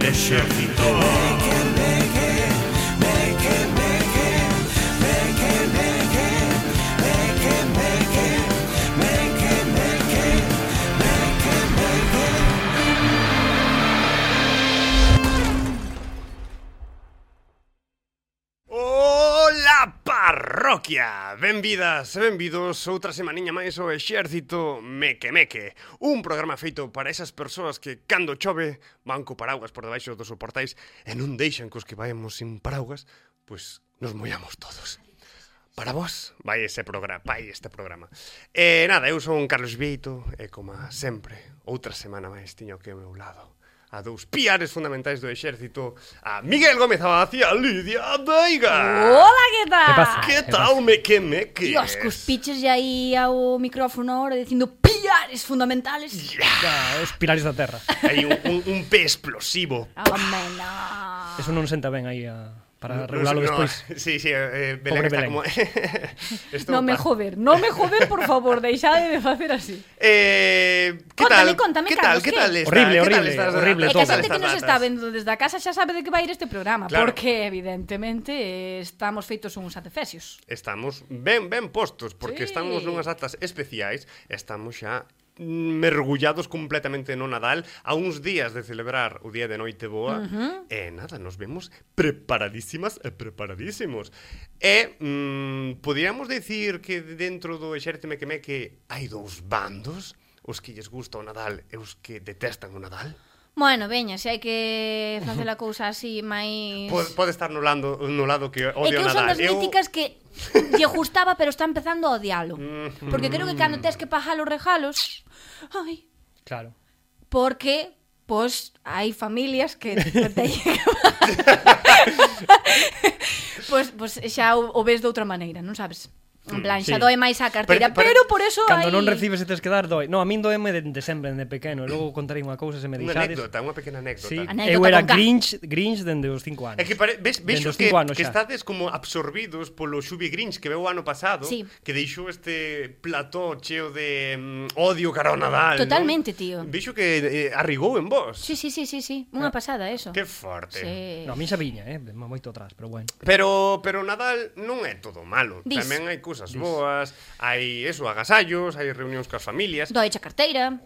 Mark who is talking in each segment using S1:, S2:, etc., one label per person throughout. S1: ejército. Hola parroquia, benvidas e benvidos outra semaniña máis ao Exército Meque Meque Un programa feito para esas persoas que, cando chove, van co paraugas por debaixo dos soportais E non deixan cos que vaemos sin paraugas, pois nos mollamos todos Para vos, vai ese programa, vai este programa. E nada, eu son Carlos Vieito e como sempre, outra semana máis tiño que ao meu lado a dous piares fundamentais do exército, a Miguel Gómez Abad e a Lidia Veiga.
S2: Ola, que tal?
S3: Que pasa?
S1: Que tal, me que me que?
S2: Dios, cuspiches aí ao micrófono ahora dicindo pilares fundamentales.
S3: Ya, os pilares da terra.
S1: Hai un, un, un pé explosivo.
S2: Amena.
S3: Eso non senta ben aí a para
S1: Non-
S3: regularlo
S1: non-
S3: despois.
S1: Sí, sí, eh, Belén
S3: Pobre
S1: está
S3: Belén.
S1: como... Estou
S2: Non me
S1: pa-
S2: joder, non me joder, por favor, deixade de facer así.
S1: Eh, que tal?
S2: Contame, contame,
S1: que tal?
S2: Carlos,
S1: Que
S2: que?
S1: tal está? que
S3: Horrible,
S1: tal
S3: horrible,
S1: estas-
S3: horrible
S2: É
S3: Le
S2: que a
S3: toca.
S2: xente que nos
S1: estas
S2: está
S1: datas?
S2: vendo desde a casa xa sabe de que vai ir este programa,
S1: Claro.
S2: porque evidentemente eh, estamos feitos uns atefesios.
S1: Estamos ben ben postos porque
S2: Sí.
S1: estamos nunhas atas especiais, estamos xa mergullados completamente no Nadal a uns días de celebrar o Día de Noite Boa uh -huh. e nada, nos vemos preparadísimas e preparadísimos e mm, podíamos decir que dentro do Exército Mequemeque hai dous bandos os que lles gusta o Nadal e os que detestan o Nadal
S2: Bueno, veña, se hai que facer a cousa así máis...
S1: Pode, pode estar no, lando, no lado que
S2: É
S1: odia
S2: que
S1: o
S2: eu son
S1: Nadal
S2: das míticas que lle gustaba, pero está empezando a odialo. Porque creo que
S1: Mm.
S2: cando tes que pagar os regalos... Ai,
S3: Claro.
S2: porque pois hai familias que te teñen que pois, pois xa o, o ves de outra maneira, non sabes? En plan, xa
S3: sí.
S2: doe máis a carteira,
S1: Pero-
S2: pero,
S1: pero-
S2: por eso
S3: Cando
S2: hai...
S3: non recibes e tes que dar doi. No, a min doeme dende sempre, dende pequeno. Logo contarei unha cousa se me
S1: Unha
S3: deixades.
S1: anécdota, unha pequena anécdota
S3: Sí.
S2: Anécdota
S3: Eu era
S2: con K.
S3: Grinch, Grinch dende os 5 anos.
S1: É que pare, ves, ves
S3: Dende os
S1: que,
S3: cinco anos
S1: que
S3: xa.
S1: estades como absorbidos polo Xubi Grinch que veu o ano pasado,
S2: Sí.
S1: que deixou este plató cheo de mm, odio cara ao Nadal.
S2: Totalmente, tío.
S1: Non? Veixo que eh, arrigou en vos.
S2: Sí, sí, sí, sí, sí. Unha pasada, eso.
S1: Que forte.
S2: Sí.
S3: No, a min xa viña, eh, moito atrás, pero bueno.
S1: Pero pero Nadal non é todo malo.
S2: Dis.
S1: Tamén hai cousas boas, hai eso, agasallos, hai reunións coas familias,
S2: Doeche a carteira.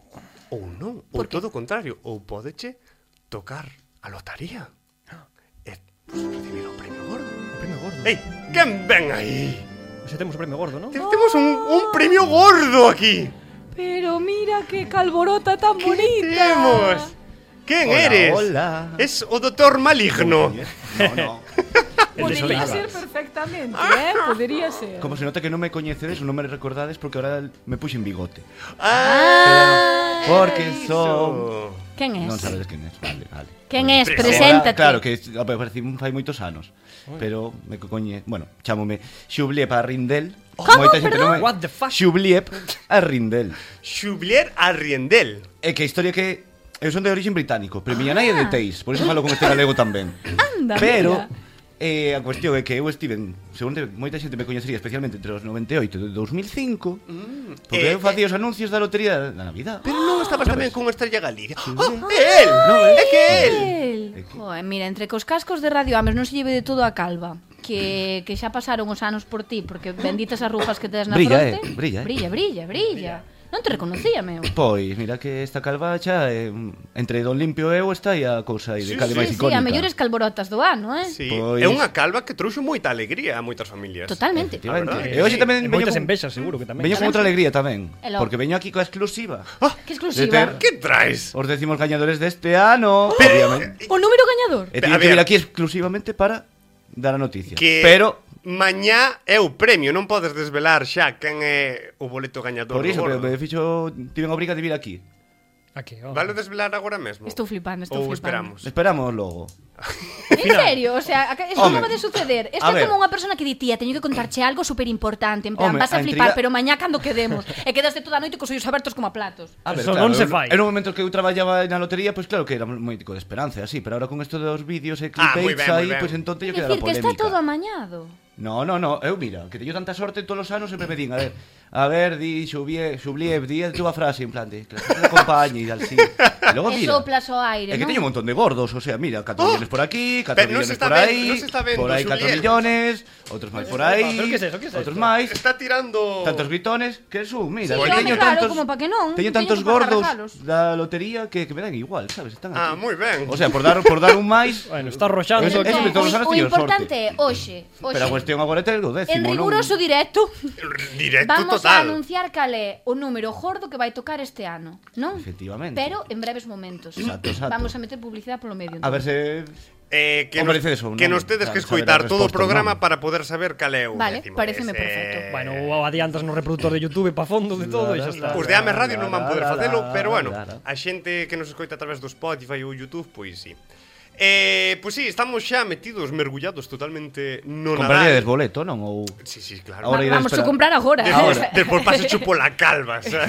S1: ou non, ou
S2: Por que?
S1: todo o contrario, ou pódeche tocar a lotaría.
S2: Ah.
S1: E pues, recibir o premio gordo.
S3: O premio gordo.
S1: Ei, quen ven aí?
S3: Xa temos o premio gordo, non?
S1: Te- Tenemos un, un premio gordo aquí.
S2: Pero mira que calborota tan
S1: ¿Qué tenemos? ¿Quién
S4: Hola,
S1: eres?
S4: hola.
S1: Es o doctor maligno.
S4: No, no.
S3: El de
S2: Podería
S3: Sonaba.
S2: ser perfectamente, eh? Podería ser.
S4: Como se nota que non me coñecedes, non me recordades porque ahora me puxen bigote.
S1: Ah,
S4: Porque son...
S1: eso.
S2: Quen
S4: Non
S2: es?
S4: sabedes quen es, vale, vale.
S2: Quen es?
S1: Presenta.
S2: Preséntate.
S4: Ahora, claro, que aparecí fai moitos anos, pero me co- coñe... Bueno, chamome Xubliep a Rindel.
S2: Como?
S4: non me-
S3: What the fuck?
S4: Xubliep a Rindel.
S1: Xublier Arriendel.
S4: É que a historia que... Eu son de origen británico, pero miña nai é de Teis, por iso falo con este galego tamén.
S2: Ah, Anda,
S4: Pero
S2: mira.
S4: eh, a cuestión é que eu estive, en- seguro que moita xente me coñecería especialmente entre os 98 e 2005, porque
S1: eh,
S4: eu facía os anuncios da lotería da Navidad.
S1: Pero non estabas tamén con Estrella Galicia. Oh, é él,
S4: No,
S1: é que é él.
S2: El. Joder, mira, entre cos cascos de Radio Ames non se lleve de todo a calva
S4: Mm.
S2: que, que xa pasaron os anos por ti porque benditas arrugas que tes na
S4: Brilla,
S2: fronte
S4: eh, brilla, eh.
S2: brilla, brilla, brilla non te reconocía, meu
S4: Pois, mira que esta calvacha eh, entre Don Limpio e eu está aí a cousa aí de
S1: Sí,
S4: cale
S1: sí,
S4: máis
S2: sí, sí,
S4: icónica.
S2: a mellores calborotas do ano, eh
S1: Sí,
S4: Pois-
S1: é unha calva que trouxo moita alegría a moitas familias.
S2: totalmente
S4: Efectivamente.
S1: A
S4: E
S1: verdade,
S3: Eh,
S4: hoxe
S1: sí.
S4: tamén
S3: E
S4: veño
S3: moitas
S4: con,
S3: envexas, seguro que tamén. eh.
S4: veño con outra alegría tamén,
S2: Hello.
S4: porque veño aquí coa exclusiva.
S2: que
S4: De ter-
S2: exclusiva
S1: Que Ah, traes?
S4: Os décimos gañadores deste ano, obviamente.
S2: o número gañador
S4: E
S1: Pe- ¡Oh! a
S4: teño que
S1: ver.
S4: vir aquí exclusivamente para dar a noticia.
S1: Que
S4: Pero
S1: mañá é o premio, non podes desvelar xa quen é o boleto gañador.
S4: Por iso,
S1: do
S4: pero
S1: gordo.
S4: me fixo tiven obriga de vir aquí.
S3: Aquí, oh.
S1: Vale desvelar agora mesmo.
S2: Estou flipando, estou
S1: Ou esperamos.
S2: flipando.
S4: Esperamos logo.
S2: En serio, o sea, aca- eso
S4: Home.
S2: acaba de suceder. Esto
S4: A
S2: é
S4: ver.
S2: como unha persona que di, tía, teño que contarche algo super importante, en plan,
S4: Home,
S2: vas a,
S4: a
S2: flipar,
S4: intriga-
S2: pero mañá cando quedemos, e quedaste toda a noite cos ollos abertos como a platos.
S4: A
S3: Eso non se
S4: eu-
S3: fai.
S4: Era un momento que eu traballaba na lotería, pois claro que era moi tico de esperanza, e así, pero agora con isto dos vídeos e
S1: Ah, moi
S4: clickbaits
S1: ben, moi
S4: aí,
S1: ben.
S4: pois entón teño
S2: Quer
S4: que dar a
S2: decir, que
S4: polémica.
S2: está todo amañado.
S4: No, no, no, eu mira, que teño tanta sorte todos os anos sempre me din, a ver, A ver, di, xubie, xubliev, di a túa frase, en plan de, que la gente te acompañe e así. E Logo,
S2: E
S4: mira,
S2: soplas o
S4: É
S2: aire,
S4: que
S2: non?
S4: teño un montón de gordos, o sea, mira, 4
S1: Oh!
S4: millones por aquí, 4
S1: Pero non
S4: millones
S1: se está
S4: por
S1: ven-
S4: aí,
S1: non se está vendo,
S4: por aí 4
S1: Xubiel.
S4: millones, outros máis por aí,
S3: Pero que é eso, que é eso?
S4: outros máis,
S1: Está tirando...
S4: tantos gritones, que sú, mira,
S2: Sí,
S4: que
S1: home,
S4: teño
S2: claro,
S4: tantos,
S2: como pa que non,
S4: teño
S2: teño
S4: tantos
S2: que
S4: gordos
S2: pagalos.
S4: da lotería que, que me dan igual, sabes, están
S1: Ah,
S4: aquí.
S1: moi ben.
S4: O sea, por dar, por dar un máis,
S3: Bueno, está arroxado.
S4: Eso-
S3: Entón,
S4: eso me todos os anos
S2: o, o
S4: teño sorte.
S2: importante é hoxe, hoxe.
S4: Pero a cuestión agora é ter o décimo,
S2: en
S4: non?
S2: riguroso directo
S1: Directo
S2: vamos a
S1: total.
S2: anunciar cal é o número gordo que vai tocar este ano, non?
S4: Efectivamente.
S2: Pero en breves momentos.
S4: Exacto, exacto.
S2: Vamos a meter publicidade polo medio.
S4: A ver se...
S1: Eh, que
S4: Hombre,
S1: nos,
S4: dices eso,
S1: que
S4: non,
S1: nos tedes que
S4: saber a
S1: escoitar todo o
S4: resposta, non.
S1: programa para poder saber cal é o
S2: Vale,
S1: décimo.
S2: pareceme
S1: Ese-
S2: perfecto.
S3: Bueno,
S1: eh,
S3: ou adiantas no reproductor de Youtube pa fondo de todo e xa está.
S1: Os de Ames pues Radio non van poder facelo, pero bueno, a xente que nos escoita a través do Spotify ou Youtube, pois sí. Eh, pois sí, estamos xa metidos, mergullados totalmente no
S4: Compraríades
S1: Nadal.
S4: boleto, non? Ou...
S1: Sí, sí,
S2: Va-
S1: claro.
S4: Ahora iré a
S2: vamos a
S4: esperar.
S2: comprar agora.
S1: Despois, despois pase chupo la calva, xa.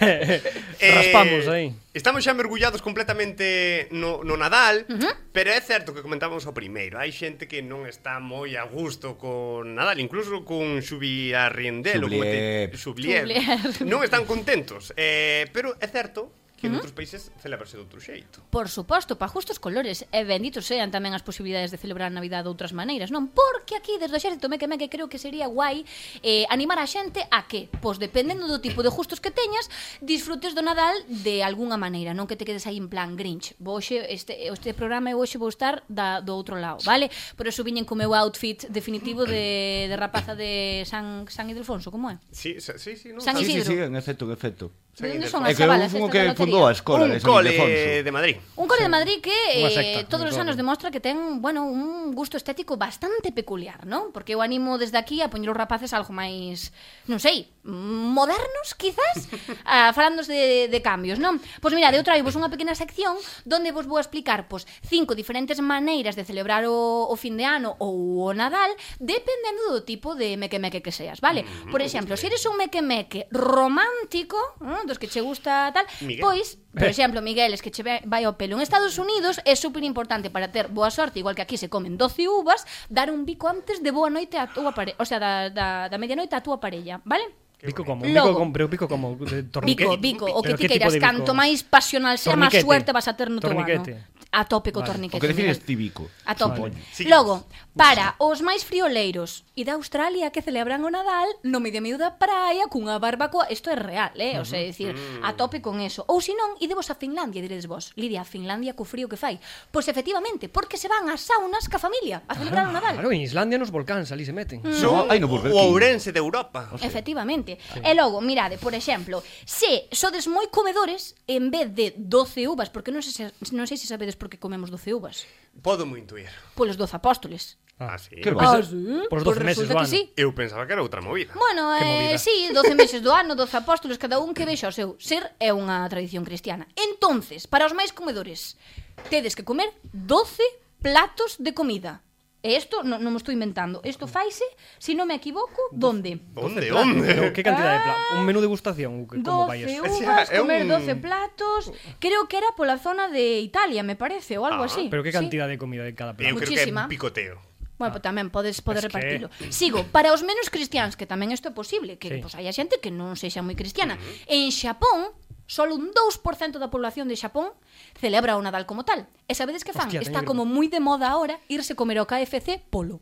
S1: Eh,
S3: Raspamos aí.
S1: Estamos xa mergullados completamente no, no Nadal, uh -huh. pero é certo que comentábamos o primeiro. Hai xente que non está moi a gusto con Nadal, incluso con Xubi Arriendel, ou como te- Subliev.
S2: Subliev.
S1: Non están contentos, eh, pero é certo que uh -huh. noutros países celebrase de outro xeito.
S2: Por suposto, pa justos colores e benditos sean tamén as posibilidades de celebrar a Navidad de outras maneiras, non? Porque aquí, desde o xérito meque meque, creo que sería guai eh, animar a xente a que, pois dependendo do tipo de justos que teñas, disfrutes do Nadal de algunha maneira, non que te quedes aí en plan Grinch. Vou hoxe, este, este programa eu hoxe vou estar da, do outro lado, vale? Por eso viñen co meu outfit definitivo de, de rapaza de San, San Ildefonso, como é?
S1: Sí, sa- sí, sí, non.
S2: San
S1: sabe.
S4: Sí, sí, sí,
S2: Isidro.
S4: en efecto, en efecto.
S2: De onde
S1: Ildefonso.
S2: son
S4: É
S2: as
S4: que eu
S2: chavalas?
S4: fun o
S2: estas
S4: que
S2: da lotería?
S4: fundou a escola
S1: Un
S4: de San
S1: cole
S4: Ildefonso.
S1: de Madrid.
S2: Un cole de Madrid que
S3: Unha
S2: eh,
S3: secta,
S2: todos
S3: un
S2: os
S3: cole.
S2: anos demostra que ten, bueno, un gusto estético bastante peculiar, non? Porque eu animo desde aquí a poñer os rapaces algo máis, non sei, modernos, quizás, a falandos de, de cambios, non? Pois mira, eu traio vos unha pequena sección donde vos vou explicar, pois, cinco diferentes maneiras de celebrar o, o fin de ano ou o Nadal, dependendo do tipo de meque-meque que seas, vale?
S3: Mm,
S2: Por exemplo, se eres un meque-meque romántico, non? dos que che gusta tal,
S1: Miguel.
S2: pois país, por exemplo, Miguel, es que che ve- vai ao pelo en Estados Unidos é super importante para ter boa sorte, igual que aquí se comen 12 uvas, dar un bico antes de boa noite a túa parella, o sea, da, da, da medianoite a túa parella, vale?
S3: Pico como,
S2: Logo.
S3: pico como, pero pico como de
S2: Bico,
S3: torniquete.
S2: bico, o que
S3: Pero
S2: ti
S3: que tipo
S2: queiras,
S3: de bico?
S2: canto máis pasional sea, máis
S3: Torniquete.
S2: suerte vas a ter no teu ano.
S3: Torniquete.
S2: A tope co
S3: Vale.
S2: torniquete.
S4: O que defines
S2: Miguel.
S4: tíbico.
S2: A tope.
S4: Supoño.
S1: Sigamos.
S2: Logo, para os máis frioleiros e da Australia que celebran o Nadal no medio medio da praia cunha barbacoa, isto é real, eh? O sea, é dicir, a tope con eso. Ou se non, idevos a Finlandia, diredes vos. Lidia, a Finlandia co frío que fai. Pois efectivamente, porque se van ás saunas ca familia a celebrar o Nadal.
S3: Claro, en Islandia nos volcáns ali se meten.
S2: Mm.
S1: Son
S4: Ai, no Burger
S1: o
S4: King.
S1: Ourense de Europa.
S2: Efectivamente. E logo, mirade, por exemplo, se sodes moi comedores en vez de 12 uvas, porque non sei se, non sei se sabedes por que comemos 12 uvas,
S1: Podo moi intuir.
S2: polos 12 apóstoles.
S1: Ah, sí.
S4: que
S3: Pois,
S4: va.
S3: eh, Pois 12 meses
S2: resulta
S3: do
S2: que
S3: ano.
S2: sí.
S1: Eu pensaba que era outra movida.
S2: Bueno, eh,
S3: Que movida.
S2: sí, 12 meses do ano, 12 apóstoles, cada un que vexa o seu ser é unha tradición cristiana. Entonces, para os máis comedores, tedes que comer 12 platos de comida. E isto non, non me estou inventando. Isto faise, se non me equivoco, donde?
S1: Onde,
S3: Plan,
S1: onde?
S3: pero que cantidad de plan?
S2: Ah.
S3: Un menú degustación, que como vai
S2: 12
S3: eso?
S2: uvas,
S1: É un-
S2: comer 12 platos Creo que era pola zona de Italia, me parece, ou algo
S1: Ah,
S2: así
S3: Pero que
S2: Sí.
S3: cantidad de comida de
S1: Eu
S3: cada plato?
S1: creo que é
S2: Muchísima.
S1: un picoteo.
S2: Bueno, pues tamén podes poder
S3: Ah. Es que-
S2: repartilo. Sigo, para os menos cristiáns, que tamén isto é posible, que
S3: Sí.
S2: sí.
S3: Mm-hmm.
S2: pois hai xente que non sexa moi cristiana. En Xapón, solo un 2% da población de Xapón celebra o Nadal como tal. E sabedes que fan?
S3: Hostia,
S2: Hostia, Está
S3: teño
S2: como
S3: que-
S2: moi de moda ahora irse comer ao KFC polo.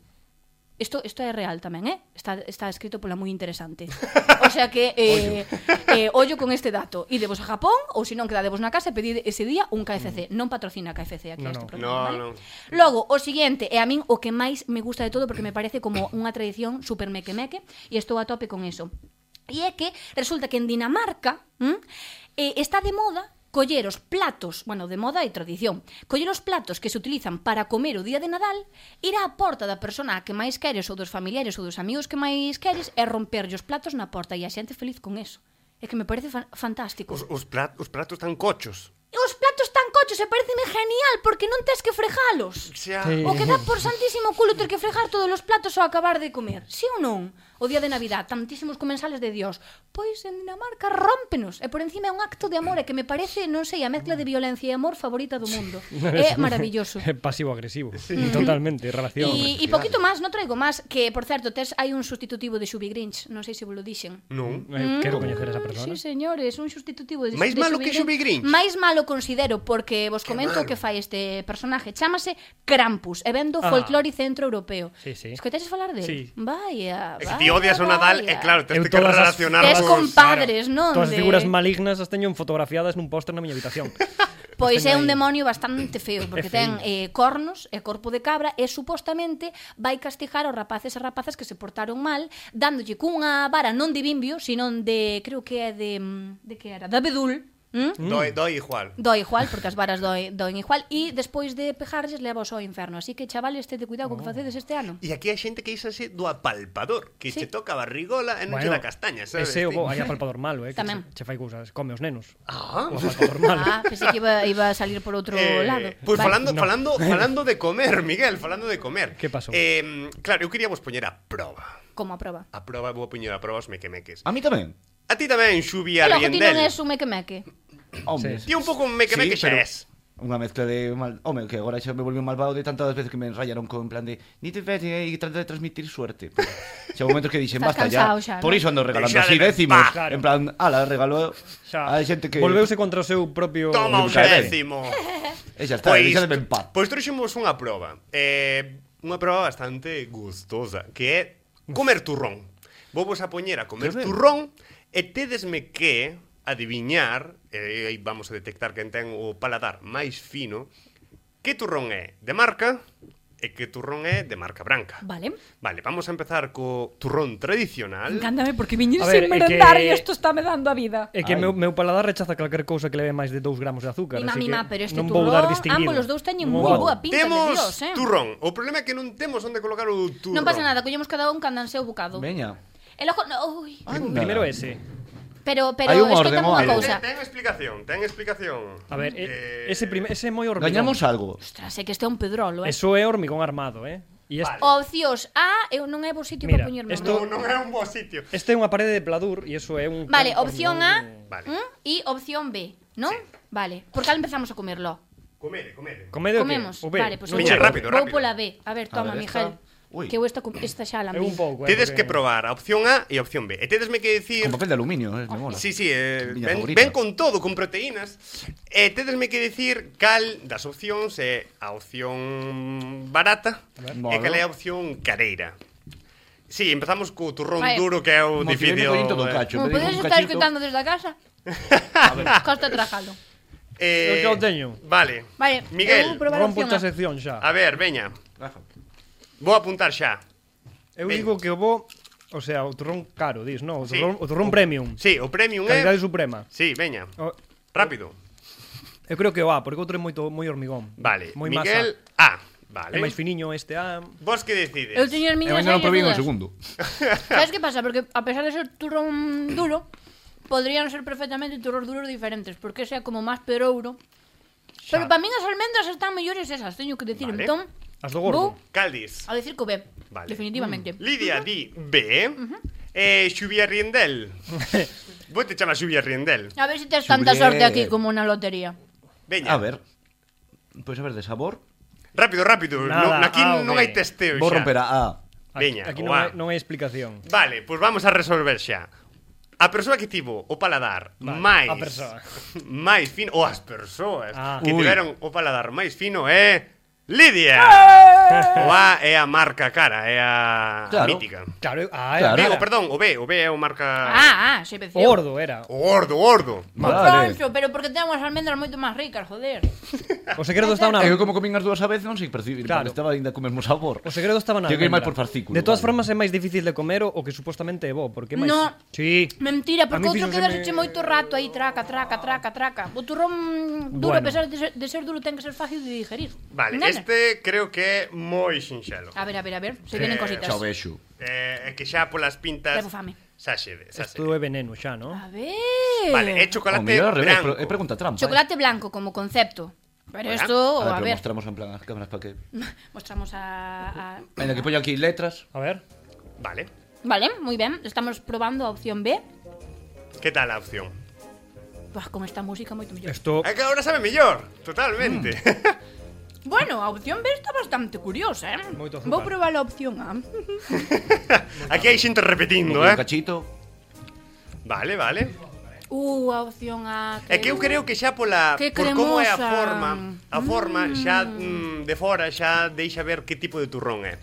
S2: Isto isto é real tamén, eh? Está está escrito pola moi interesante. O sea que eh eh ollo con este dato. Idevos a Japón ou se non quedadevos na casa e pedid ese día un KFC. Non patrocina KFC aquí
S3: No,
S2: este
S3: no.
S2: programa,
S1: No,
S2: vale?
S1: no.
S2: Logo, o seguinte é a min o que máis me gusta de todo porque me parece como unha tradición super meque meque e estou a tope con eso. E é que resulta que en Dinamarca ¿m? Eh, está de moda coller os platos, bueno, de moda e tradición, coller os platos que se utilizan para comer o día de Nadal, ir á porta da persona a que máis queres ou dos familiares ou dos amigos que máis queres e romperlle os platos na porta e a xente feliz con eso. É que me parece fan- fantástico.
S1: Os, os, plat, os platos tan cochos.
S2: Os platos tan cochos e pareceme genial porque non tes que fregalos.
S1: Xa,
S3: Sí.
S2: O que dá por santísimo culo ter que fregar todos os platos ao acabar de comer, sí ou non? o día de Navidad, tantísimos comensales de Dios. Pois en Dinamarca rómpenos, e por encima é un acto de amor, e que me parece, non sei, a mezcla de violencia e amor favorita do mundo. É maravilloso.
S3: É pasivo-agresivo. Totalmente, relación.
S2: E, e poquito máis, non traigo máis, que, por certo, tes hai un sustitutivo de Xubi Grinch, non sei se vos lo dixen.
S1: Non.
S3: Eh, Quero coñecer a esa
S2: mm,
S3: persona.
S2: Sí, señores, un sustitutivo de
S1: Máis
S2: de
S1: malo que Xubi Grinch.
S2: Máis malo considero, porque vos comento
S1: malo.
S2: que fai este personaje. Chámase Krampus, e vendo
S3: Ah.
S2: folclore centroeuropeo.
S3: Sí, sí.
S2: Escoitaches falar de
S3: Sí.
S2: Vaya,
S1: É
S2: vaya,
S1: que ti odias o Nadal,
S2: vaya.
S1: e claro, tens
S3: Eu
S1: que
S3: todas as-
S1: relacionarnos...
S2: Tes compadres, non?
S3: Todas as
S2: De-
S3: figuras malignas as teño fotografiadas nun póster na miña habitación.
S2: Pois é
S3: teño
S2: un
S3: aí.
S2: demonio bastante feo, porque
S3: É feo.
S2: ten eh, cornos e corpo de cabra e supostamente vai castigar aos rapaces e rapazas que se portaron mal, dándolle cunha vara non de bimbio, senón de, creo que é de, mm, de que era, da bedul, ¿Mm?
S1: Doi, doi igual.
S2: Doi igual, porque as varas doi, doen igual E despois de pejarlles levas ao inferno Así que, chavales, tede cuidado
S1: Oh.
S2: co que facedes este ano
S1: E aquí hai xente que isase do apalpador, que
S2: Sí.
S1: che toca a barrigola e non che da
S3: Bueno,
S1: castaña, sabes?
S3: Ese
S1: Ti?
S3: o bo, hai apalpador malo, eh, que
S2: Tamén.
S3: che, che fai cousas, come os nenos.
S1: Ah,
S3: O apalpador malo.
S2: Ah, pensei que iba, iba a salir por outro
S1: Eh,
S2: lado
S1: Pois
S2: Vale.
S1: falando, falando, falando de comer, Miguel, falando de comer.
S3: Que pasou?
S1: Eh, claro, eu quería vos poñer a proba.
S2: Como a proba
S1: A proba, vou poñer a proba os mequemeques.
S4: A mí tamén.
S1: A ti tamén, Xubi
S2: Pero que ti non
S1: Arriendel.
S2: és un meque-meque
S4: Hombre.
S3: Sí.
S1: Ti un pouco un mequemeque
S4: Sí,
S1: xa
S4: pero-
S1: és.
S4: Unha mezcla de mal... Home, que agora xa me volví un malvado de tantas veces que me enrayaron con en plan de ni te ves e trata de transmitir suerte. Pero Xa houve momentos que dixen,
S2: Estás
S4: basta
S2: cansado
S4: ya.
S2: xa,
S4: Por
S2: ¿no?
S4: iso ando regalando
S1: Deixade
S4: así
S1: de-
S4: décimos.
S1: Bah,
S3: claro.
S4: En plan, ala, regalou
S3: Xa,
S4: a xente que...
S3: Volveuse contra o seu propio...
S1: Toma un
S4: Nunca é.
S1: décimo.
S4: E xa está,
S1: Pois,
S4: deixademe en paz.
S1: pois trouxemos unha proba. Eh, unha proba bastante gustosa, que é comer turrón. Vou vos a poñer a comer
S4: Turrón.
S1: turrón e tedesme que adiviñar, e aí vamos a detectar quen ten o paladar máis fino, que turrón é de marca e que turrón é de marca branca.
S2: Vale
S1: Vale, vamos a empezar co turrón tradicional.
S2: Encántame porque viñir
S3: A ver,
S2: sin
S3: é que- Eh,
S2: merendar e isto está me dando a vida
S3: É que
S4: Ai.
S3: meu, meu paladar rechaza calquer cousa que leve máis de 2 gramos de azúcar,
S2: Ima,
S3: así que
S2: mima, pero este
S3: non
S2: turrón,
S3: vou dar distinguido.
S2: ambos os dous teñen
S3: Non
S2: moi
S3: vou.
S2: boa pinta
S1: temos
S2: de Dios, eh.
S1: turrón. O problema é que non temos onde colocar o turrón.
S2: Non pasa nada, collemos cada un cando seu
S3: Pois
S2: bocado
S4: Veña.
S2: El ojo, no, ui.
S4: Anda.
S3: Primeiro ese.
S2: Pero, pero,
S4: Hai un orden,
S2: escoitame
S4: un
S2: unha
S4: orden.
S2: cousa
S1: Ten, ten explicación, ten explicación.
S3: A ver,
S1: Eh,
S3: e- ese prime, ese é moi hormigón.
S4: Gañamos algo.
S2: Ostras, é que este é un pedrolo, eh
S3: Eso é hormigón armado, eh? E este,
S2: Opcións A, eu non é bo sitio
S3: Mira,
S2: para poñerme
S3: esto-
S1: Non, non é un bo sitio.
S3: este é unha parede de pladur e eso é un
S2: Vale,
S3: un
S2: opción A
S3: hormigón-
S1: Vale.
S2: ¿m? y opción B, ¿no?
S1: Sí.
S2: Vale. ¿Por qué empezamos a comerlo?
S1: Comede, comede.
S3: Comedo
S2: Comemos.
S3: que?
S2: Vale, pues
S1: non Miña,
S2: vou-
S1: rápido,
S2: vou
S1: rápido.
S2: pola B. A
S4: A
S2: ver, toma,
S4: ver, esta.
S2: Mijal.
S4: Ui.
S2: Que vou esta, co- esta xa la
S3: É un pouco, eh.
S1: Tedes
S3: porque-
S1: que probar a opción A e a opción B. E tedesme que dicir...
S4: Con papel de aluminio, eh, me mola.
S1: Sí, sí, eh,
S4: Miña
S1: ven,
S4: favorita.
S1: ven con todo, con proteínas. E tedesme que dicir cal das opcións é a opción barata e
S4: Mola.
S1: cal é a opción careira. Sí, empezamos co turrón
S2: Vale.
S1: duro que é o
S4: Como
S1: difícil.
S4: si ven collín todo
S1: eh.
S4: cacho, me
S2: Como
S4: digo
S2: podéis
S4: un
S2: estar
S4: cachito.
S2: escuchando desde a casa, costa trajalo.
S1: Eh,
S3: Eu xa o teño.
S1: Vale.
S2: Vale, eu vou
S1: Miguel,
S2: probar-
S3: Rompo
S2: opción
S3: esta
S2: A.
S3: sección xa.
S1: a ver, veña.
S4: Rafa.
S1: Vou apuntar xa.
S3: Eu
S1: Ven.
S3: digo que o bo, o sea, o turrón caro, dis, no, o
S1: Sí.
S3: turrón, o turrón premium,
S1: Sí, Eh. o premium é...
S3: calidade suprema.
S1: Sí, veña.
S3: O,
S1: Rápido.
S3: eu creo que o A, porque o outro é moito moi hormigón.
S1: Vale.
S3: moi
S1: Miguel, A.
S3: masa.
S1: Vale.
S3: É máis finiño este A.
S1: Vos que decides?
S2: Eu teño
S4: E
S2: as miñas
S4: mañana lo
S2: serias
S4: probé en
S2: dudas.
S4: el segundo.
S2: ¿Sabes qué pasa? Porque a pesar de ser turrón duro, podrían ser perfectamente turros duros diferentes, porque sea como más perouro. Pero para mí as almendras están mellores esas, teño que decir.
S1: Vale.
S2: Entón,
S3: As do
S2: vou
S3: gordo.
S1: Caldis.
S2: a decir que o B,
S1: Vale.
S2: definitivamente.
S1: Lidia di B. Eh, Xubia Riendel. Vos te chamas Xubia Riendel.
S2: A ver si tienes tanta
S4: Juliet.
S2: suerte aquí como una lotería.
S1: Veña.
S4: A ver. Pois a ver, de sabor.
S1: Rápido, rápido.
S3: Nada,
S1: no, aquí
S3: A ou
S1: non
S3: B.
S1: hai testeo
S4: Vou
S1: xa.
S4: romper a A.
S3: Aquí,
S1: Veña,
S3: aquí
S1: o
S3: non,
S1: A.
S3: hai, non hai explicación.
S1: Vale, pois pues vamos a resolver xa. A persoa que tivo o paladar
S3: Vale,
S1: máis
S3: a persoa.
S1: máis fino ou as persoas
S3: Ah.
S1: que
S4: Ui.
S1: tiveron o paladar máis fino é Lidia. o A é a marca cara, é a
S4: Claro.
S1: mítica.
S3: Claro, eu- ah,
S4: Claro.
S1: Digo,
S3: era.
S1: perdón, o B, o B é o marca
S2: Ah, ah, se
S3: O
S2: venció.
S3: gordo era.
S1: o gordo, o gordo.
S4: Vale.
S2: Concho, Pues pero porque tenemos almendras moito máis ricas, joder.
S3: O segredo está na
S4: É que como comín as dúas a vez non sei percibir, claro.
S3: Claro.
S4: estaba ainda co mesmo sabor.
S3: O segredo estaba na
S4: Tiene que ir
S3: almendra.
S4: mal por fascículo.
S3: De todas
S4: vale.
S3: formas é máis difícil de comer o o que supostamente é bo, porque é máis
S2: No.
S3: Sí.
S2: Mentira,
S3: A
S2: porque
S3: mí
S2: outro
S3: fíxoseme-
S2: quedarse moito rato aí, traca, traca, traca, traca. O turrón duro, a
S3: Bueno.
S2: pesar de ser, de ser duro, ten que ser fácil de digerir.
S1: Vale,
S2: Nena.
S1: este creo que é moi sinxelo.
S2: A ver, a ver, a ver, se vienen
S1: Eh,
S2: cositas.
S4: Xa o vexo.
S1: Eh, é que xa polas pintas
S2: Levo fame.
S1: Sáxede,
S3: Isto
S1: sáxede.
S3: é veneno xa, ¿no?
S2: A ver.
S1: Vale, este- é
S4: O
S1: chocolate
S4: mellor ao revés,
S1: branco.
S4: é pregunta trampa.
S2: Chocolate blanco como concepto. Pero
S1: Hola.
S2: esto,
S4: eh. A ver,
S2: a
S4: pero
S2: ver,
S4: mostramos en plan as cámaras para que...
S2: mostramos a, a...
S4: Ainda que poño aquí letras.
S3: A ver.
S1: Vale.
S2: Vale, moi ben, estamos probando a opción B.
S1: Que tal a opción?
S2: Buah, con esta música moito mellor.
S3: Esto
S1: É que agora sabe mellor, totalmente.
S2: Bueno, a opción B está bastante curiosa, eh?
S3: Moito azúcar.
S2: Vou probar a opción A.
S1: Aquí hai xente repetindo,
S4: Un
S1: eh?
S4: cachito.
S1: Vale, vale.
S2: Uh, a opción A.
S1: É que eu creo que xa pola
S2: Que
S1: por como é a
S2: cremosa.
S1: forma, a forma xa mm, de fora xa deixa ver que tipo de turrón é.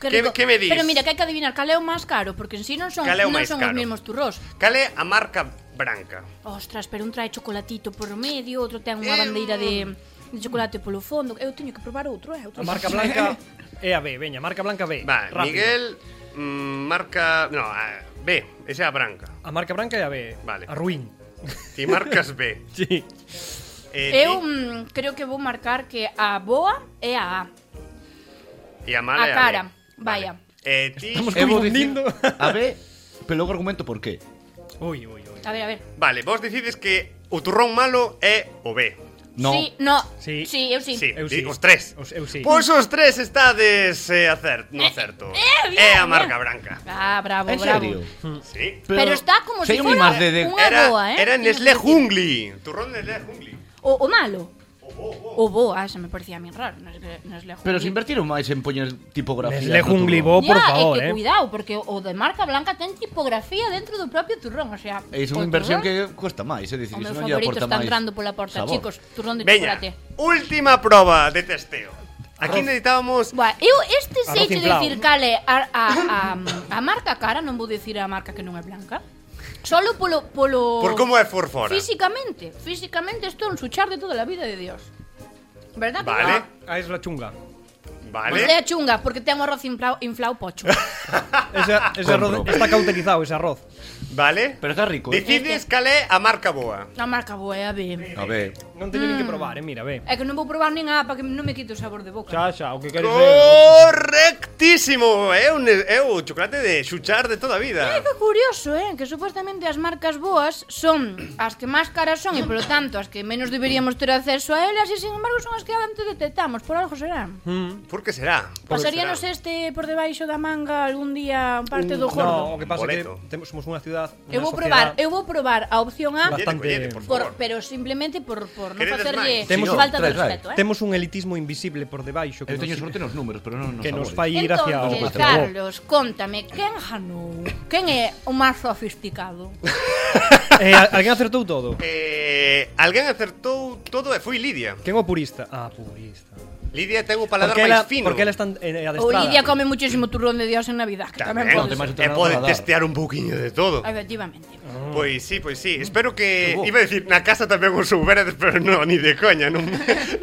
S1: que-
S2: rico.
S1: que me dis?
S2: Pero mira, que hai que adivinar cal é o máis caro, porque en sí non son,
S1: Cal é o
S2: non
S1: máis
S2: son os
S1: caro?
S2: mesmos turrós.
S1: Cal é a marca branca?
S2: Ostras, pero un trae chocolatito por medio, outro ten
S1: Eh,
S2: unha bandeira de, de chocolate polo fondo. Eu teño que probar outro, eh? Outro.
S3: a marca blanca é a B, veña, marca blanca B.
S1: Va,
S3: Eh, rápido.
S1: Miguel, mm, marca... No, a, B, esa é a branca.
S3: A marca blanca é a B.
S1: Vale.
S3: A ruín.
S1: Ti marcas B.
S3: Sí.
S1: Eh,
S2: Eu mm, creo que vou marcar que a boa é a A.
S1: ti, e a mala
S2: a
S1: é B.
S2: cara,
S1: Vale.
S2: vaya.
S1: Eh, ti...
S3: Estamos
S4: Eu vou
S3: confundindo.
S4: dicir A B, pero logo argumento por qué.
S3: Ui, ui, ui.
S2: A ver, a ver.
S1: Vale, vos decides que o turrón malo é o B.
S4: No.
S2: Sí, no.
S3: Sí.
S2: sí eu sí.
S1: Sí,
S3: Eu
S1: di-
S3: sí.
S1: os tres.
S3: Os- eu sí.
S1: Pois os tres estades eh, acerto, no certo.
S2: eh, bien,
S1: é a
S2: bien.
S1: marca branca.
S2: Ah, bravo,
S4: En
S2: bravo.
S4: serio.
S1: Sí.
S2: Pero, está como
S4: Sei
S2: se
S4: un
S2: fuera
S4: imás de- de-
S2: unha
S1: Era,
S2: boa, eh?
S1: era
S2: Tiene
S1: Nestlé
S2: sentido.
S1: Jungli. Turrón Nestlé Jungli.
S2: O, o malo. O boa, se me parecía a mí raro. No es, no es
S4: Pero se invertiron máis en poñer tipografía. no
S3: Nestlé Jungli
S4: turrón.
S3: Bob, por favor,
S2: que
S3: eh.
S2: cuidado, porque o de marca blanca ten tipografía dentro do propio turrón, o sea...
S4: É
S2: o
S4: unha inversión
S2: turrón,
S4: que cuesta máis, é dicir,
S2: Pois, O meu
S4: iso non lle
S2: favorito
S4: aporta
S2: está
S4: máis.
S2: entrando pola porta,
S4: sabor.
S2: chicos. Turrón de
S1: Veña,
S2: chocolate.
S1: última prova de testeo. Aquí necesitábamos...
S2: Buah, eu este
S3: Arroz
S2: sei de
S3: inflado.
S2: dicir cal é a, a, a, a marca cara, non vou dicir a marca que non é blanca. Solo polo... polo
S1: Por como é por fora.
S2: Físicamente, físicamente isto é un suchar de toda a vida de Dios. ¿Verdad? que
S1: Vale.
S2: non?
S3: A Ah, es la chunga.
S1: Vale.
S2: Pois é chunga, porque ten o arroz inflao, inflao pocho.
S3: Ese, ese arroz
S4: Compro.
S3: está cauterizado, ese arroz.
S1: Vale.
S4: Pero está rico, eh?
S1: Decides
S3: este
S1: cal é a marca boa.
S2: A marca boa é a B.
S4: A ver.
S3: Non teño
S2: Mm.
S3: nin que probar, eh, mira, ve.
S2: É que non vou probar nin a para que non me quite o sabor de boca.
S3: Xa, xa, o que queres ver.
S1: Correctísimo. É un é o chocolate de xuchar de toda a vida.
S2: É que curioso, eh, que supostamente as marcas boas son as que máis caras son e polo tanto as que menos deberíamos ter acceso a elas e sin embargo son as que antes detectamos, por algo serán.
S1: Por que será? Por que
S2: Pasaríanos
S1: será?
S2: este por debaixo da manga algún día parte do
S3: Uh, No, o
S2: gordo.
S3: que pasa é que
S1: Boleto.
S3: temos, somos unha ciudad, unha
S2: eu vou probar,
S3: sociedad-
S2: eh, eu vou probar a opción A
S3: Bastante-
S1: Collete, collete, por
S2: por,
S1: favor.
S2: pero simplemente por, por non
S1: Queredes
S2: facerlle
S1: máis?
S4: Temos-
S2: falta
S4: trae,
S2: de
S4: trae.
S2: respeto, eh.
S3: Temos un elitismo invisible por debaixo que
S4: Eu teño
S3: nos,
S4: sorte nos números, pero non nos
S3: que nos
S4: sabores.
S3: fai ir hacia o
S2: Entonces,
S3: hacia o bo.
S2: Carlos, contame, quen ganou? Quen é o máis sofisticado?
S3: Eh, al- alguén acertou todo?
S1: Eh, alguén acertou todo e foi Lidia.
S3: Quen o purista? Ah, purista.
S1: Lidia ten o paladar
S3: Porque ela,
S1: máis fino.
S3: porque ela está eh,
S2: O
S3: adestrada.
S2: Lidia come muchísimo turrón de Dios en Navidad, que tamén,
S1: Tamén,
S4: pode ser.
S1: e pode testear un pouquiño de todo.
S2: Efectivamente.
S1: Pois sí, pois
S2: Mm.
S1: sí. Espero que
S4: Que bo.
S1: iba a dicir na casa tamén o souberedes, pero non, ni de coña, non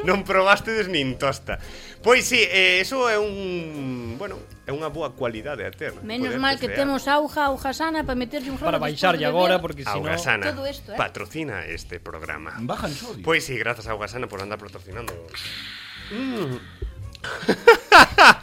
S1: non probastedes nin tosta. Pois sí, eh, eso é un, bueno, é unha boa cualidade a ter.
S2: Menos
S1: poder
S2: mal que
S1: testear.
S2: temos auja, auja sana para meterlle un rabo
S3: Para
S2: despois
S3: baixarlle
S2: de
S3: agora,
S2: beber.
S3: porque si no...
S1: Augasana
S2: todo esto, eh.
S1: patrocina este programa.
S4: Bajan sodio.
S1: Pois sí, grazas a Augasana por andar patrocinando.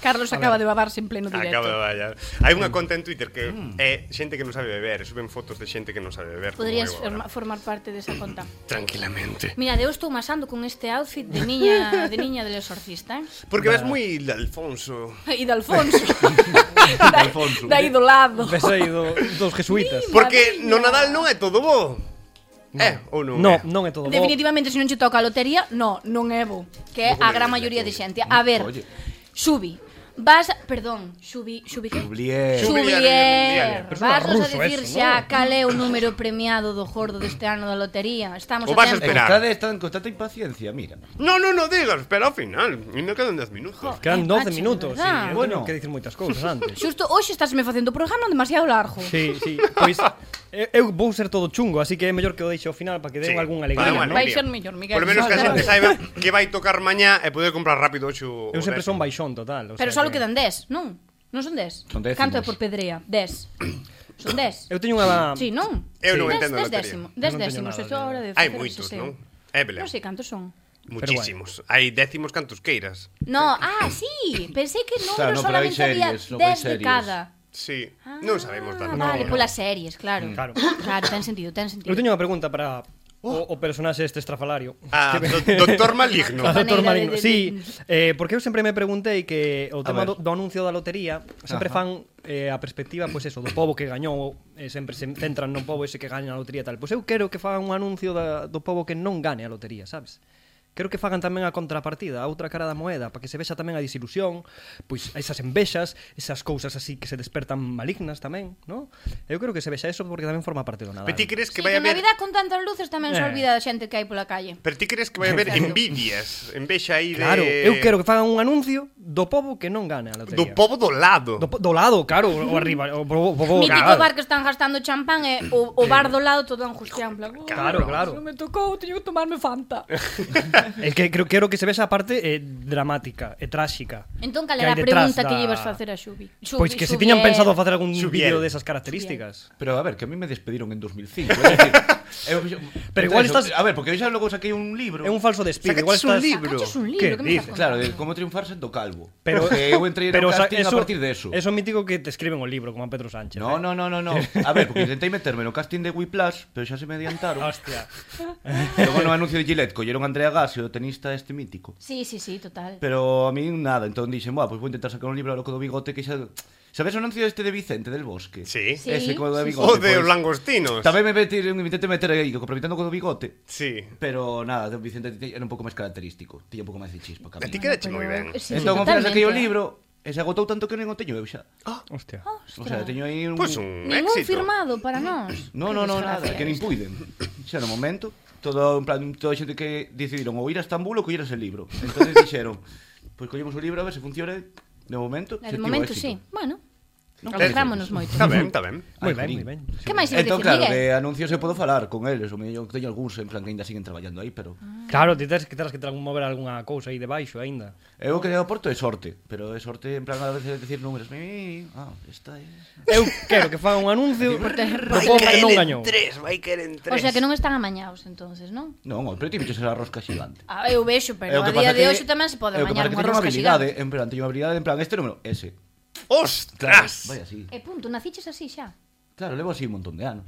S2: Carlos acaba de babarse en pleno directo.
S1: Acaba de vaya. Hai
S2: Mm.
S1: unha conta en Twitter que é xente que non sabe beber, e suben fotos de xente que non sabe beber. como
S2: Podrías
S1: eu
S2: forma-
S1: agora.
S2: formar Mm. parte desa conta.
S1: Tranquilamente.
S2: Mira, eu estou masando con este outfit de niña de niña del exorcista, eh?
S1: Porque ves moi Alfonso.
S2: E de Alfonso. da,
S4: Alfonso.
S2: da idolado.
S3: Ves aí do, dos jesuitas.
S1: Porque
S2: Madriña.
S1: no Nadal non é todo bo. Eh, ou non? é?
S3: No, non é todo bo.
S2: Definitivamente, se non che toca a lotería, no, non é bo. Que é
S1: Vou comer
S2: a gran
S1: este
S2: maioría de
S1: aquí.
S2: xente. A ver,
S4: Oye.
S2: Xubi, vas... Perdón, Xubi... Xubi que?
S4: Jublier.
S1: Xu-
S2: Xubier,
S1: Pero
S3: es
S2: vas a
S3: ruso
S2: dicir
S3: eso,
S2: xa
S3: ¿no?
S2: cal é o número premiado do jordo deste ano da lotería. Estamos
S1: O
S2: a
S1: vas a
S2: tempo.
S4: É que
S1: Esperar.
S4: está, de, está en constante impaciencia, mira.
S1: No, no, no digas, espera ao final. E me quedan 10 minutos.
S2: Jo.
S3: Quedan
S2: Eh,
S3: 12
S2: macho,
S3: minutos.
S2: verdad.
S3: Sí,
S4: Bueno.
S3: bueno. que dicir moitas cousas antes.
S2: Xusto, hoxe estásme facendo o programa demasiado largo.
S3: Sí, sí, pois eu- eu vou ser todo chungo, así que é mellor que o deixe ao final para que den
S1: Sí,
S3: algunha
S1: para
S3: alegría.
S1: unha
S3: ¿no?
S2: Vai
S1: alegría.
S2: ser mellor, Miguel.
S1: Por lo menos que a
S2: Vale.
S1: xente saiba que vai tocar mañá e poder comprar rápido hoxe o
S3: Eu sempre son
S1: décimo.
S3: baixón total, o
S2: Pero
S3: sea
S2: só
S3: que-
S2: quedan 10, non? Non son 10?
S4: Son décimos.
S2: Canto é por pedrea? 10. Son 10.
S3: Eu teño unha
S2: Sí, non?
S1: Eu
S2: Sí.
S1: non
S2: Dez-
S1: entendo a
S2: dez
S1: lotería.
S2: décimo- dez
S3: Eu non teño
S2: décimos,
S3: nada
S2: estou
S3: de-
S2: agora de
S1: Hai
S2: facer
S1: moitos,
S2: ese-
S1: non? É verdad.
S2: Non sei cantos son.
S1: Muchísimos. Hai décimos cantos queiras.
S2: No, ah, sí, pensei que
S4: Claro,
S2: números
S4: no, pero hai
S2: solamente había
S4: series, logo hai
S2: 10 de
S4: series.
S2: cada.
S1: Sí.
S2: Ah,
S1: non sabemos tanto.
S2: Vale,
S3: No, no.
S2: polas series, claro.
S3: Claro.
S2: Claro, ten sentido, ten sentido.
S3: Eu teño unha pregunta para o, o personaxe este estrafalario.
S1: Oh. Ah, do, doctor maligno.
S3: A Doctor
S2: Maneira
S3: Marino.
S2: de- de-
S3: Sí, eh, porque eu sempre me preguntei que o tema
S4: ver.
S3: do, do anuncio da lotería sempre
S4: Ajá.
S3: fan eh, a perspectiva, pois eso, do pobo que gañou, eh, sempre se centran no pobo ese que gaña a lotería e tal. Pois eu quero que fagan un anuncio da, do pobo que non gane a lotería, sabes? Quero que fagan tamén a contrapartida, a outra cara da moeda, para que se vexa tamén a disilusión, pois esas envexas, esas cousas así que se despertan malignas tamén, non? Eu creo que se vexa eso porque tamén forma parte do Nadal.
S1: Pero ti crees que
S2: Sí,
S1: vai
S2: que na
S1: haber...
S2: vida con tantas luces tamén se
S3: Eh.
S2: olvida da xente que hai pola calle.
S1: Pero ti crees que vai haber envidias, envexa aí de...
S3: Claro, eu quero que fagan un anuncio do pobo que non gane a
S1: Do
S3: lotería.
S1: povo do lado.
S3: do, po- do lado, claro, o arriba, o pobo, o pobo
S2: Mítico
S3: claro.
S2: bar que están gastando champán e o, o bar do lado todo angustiado. en plan, "Oh,
S3: Claro, claro.
S2: Me tocou, teño que tomarme Fanta.
S3: Es que creo, quero que se ve esa parte eh, dramática e tráxica.
S2: entón, cal
S3: Que
S2: era a
S3: hai detrás
S2: pregunta que
S3: da-
S2: llevas facer a Xubi? Xubi,
S3: Pois que se
S2: Xubier.
S3: tiñan pensado facer algún
S1: Xubier.
S3: vídeo desas características.
S4: Pero a ver, que a mí me despediron en 2005. Es decir, eu- yo-
S3: Pero igual
S4: eso,
S3: estás-
S4: A ver, porque eu xa logo saquei un libro.
S3: É un falso despido,
S1: Sacaches
S3: igual estás...
S1: un libro.
S2: Sacaches un libro,
S3: Que
S2: que me estás
S3: dices?
S4: Claro, de cómo triunfar sendo calvo.
S3: Pero
S4: Que eu entrei no
S3: pero, o sea,
S4: casting a partir de eso.
S3: Eso mítico que te escriben o libro como a Pedro Sánchez.
S4: No,
S3: eh.
S4: no, no, no, no. A ver, porque intentei meterme no casting de Whiplash, pero xa se me adiantaron.
S3: Hostia.
S4: Logo no anuncio de Gillette colleron a Andrea Gassi, o tenista este mítico.
S2: Sí, sí, sí, total.
S4: Pero a mí nada, entón dixen, "Buah, pois vou intentar sacar un libro a loco do bigote que xa Sabes o anuncio este de Vicente del Bosque?
S1: Sí.
S2: Sí,
S4: Ese co do
S2: sí, sí.
S4: bigote.
S1: O de
S4: pois,
S1: os langostinos.
S4: Tamén pues, me metí, me intenté meter aí, complementando co do bigote.
S1: Sí.
S4: Pero nada, de Vicente te- era un pouco máis característico, tiña un pouco máis de chispa que a
S1: A
S4: mí.
S1: ti quedache
S2: Pero-
S1: moi ben.
S2: Sí,
S4: Entón, ao final
S2: totalmente.
S4: saquei o libro, e se agotou tanto que non o teño eu xa.
S3: Hostia.
S2: Oh.
S4: O sea, teño aí un...
S1: Pois Pues un
S2: Ningún
S1: éxito.
S2: firmado para nós.
S4: No,
S2: Que
S4: no, no,
S2: desgracia
S4: nada, que nin
S2: isto.
S4: puiden. Xa no momento, todo en plan, toda a xente que decidiron ou ir a Estambul ou coller ese libro. Entonces dixeron, pois collemos o libro a ver se funciona de momento. se
S2: De
S4: tivo
S2: momento,
S4: éxito.
S2: sí. Bueno,
S4: Non
S2: alegrámonos moito.
S1: Está ben, está ben.
S4: Ai,
S3: Moi ben, moi
S4: jolín.
S3: ben.
S2: Que máis ias
S4: Entón, claro,
S2: dicir, Miguel?
S4: de anuncios eu podo falar con eles, o mellor teño algúns en plan que ainda siguen traballando aí, pero
S2: Ah.
S3: Claro, ti tens que tens que tra- mover algunha cousa aí debaixo aínda.
S4: eu creo que o Porto é sorte, pero é sorte en plan a veces decir números, "Mi, ah, esta é
S3: Eu quero que fagan un anuncio do pobo que non gañou.
S1: tres, vai caer en
S2: O sea, Pois que non están amañados, entonces, non?
S4: Non, o Porto tiñe a rosca xigante.
S2: Ah, eu vexo,
S4: É o
S2: pero a
S4: que pasa
S2: día de
S4: que-
S2: hoxe tamén se pode
S4: é o que pasa
S2: amañar
S4: que
S2: unha
S4: teño unha
S2: rosca
S4: habilidade,
S2: xigante.
S4: en plan, teño unha habilidade en plan este número, ese.
S1: ¡Ostras!
S4: Vai así.
S2: E Eh, punto, naciches así xa.
S4: Claro, levo así un montón de anos.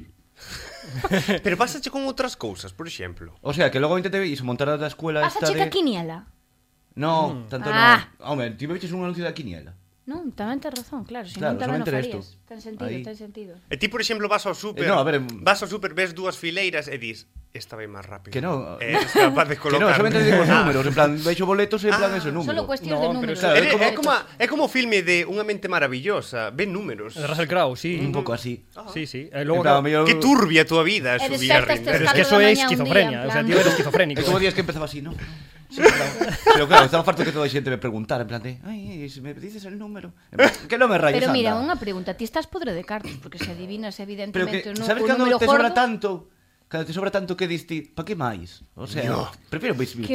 S1: Pero pásache con outras cousas, por exemplo.
S4: O sea, que logo intentei iso montar a da escuela esta
S2: Pasa
S4: de...
S2: Ah, checa quiniela.
S1: Mm.
S4: No, tanto
S2: Ah.
S4: no. Home, ti me viches un anuncio da quiniela.
S2: Non, tamén tes razón, claro, se
S4: Claro,
S2: non tamén o
S4: somente eres tú.
S2: farías. Ten sentido,
S4: Aí.
S2: ten sentido.
S1: E ti, por exemplo, vas ao super,
S4: Eh, no, a ver, em-
S1: vas ao super, ves dúas fileiras e dis, esta vai máis rápido.
S4: Que non.
S1: Eh, es capaz de
S4: Que
S1: colocar.
S4: no, solamente digo os
S1: Ah.
S4: números, en plan, veixo boletos e en plan ese número.
S2: Ah, Solo cuestión
S3: No,
S2: de
S3: pero
S2: números.
S4: claro,
S1: É,
S4: é como-
S1: é como a- é como o filme de Unha mente maravillosa, ve números.
S3: De Russell Crowe, sí.
S4: Un
S1: Mm.
S4: pouco así.
S1: Ah,
S3: Sí, sí. E
S4: En
S3: logo
S4: plan, o
S3: acaba-
S4: mellor...
S1: Que turbia a tua vida,
S2: E
S1: Xubir
S2: despertas tes
S1: Arrendero.
S3: Pero es que
S2: Catro
S3: eso
S2: da
S3: es
S2: mañá un día,
S3: esquizofrenia,
S2: en
S3: o sea,
S2: plan-
S3: tío eres
S4: É
S3: esquizofrénico.
S4: como días que empezaba así, non? Sí, claro. Pero claro, estaba farto que toda a xente me preguntara En plan de, ai, se me dices el número En plan, Que non me rayes,
S2: Pero mira,
S4: anda.
S2: unha pregunta, ti estás podre de cartos, porque se adivinas
S4: Pero
S2: evidentemente
S4: que,
S2: o nu-
S4: sabes
S2: o
S4: cando
S2: número
S4: te sobra
S2: gordo,
S4: tanto Cando te sobra tanto que dis ti Pa que máis? O sea, prefiro vivir
S2: Que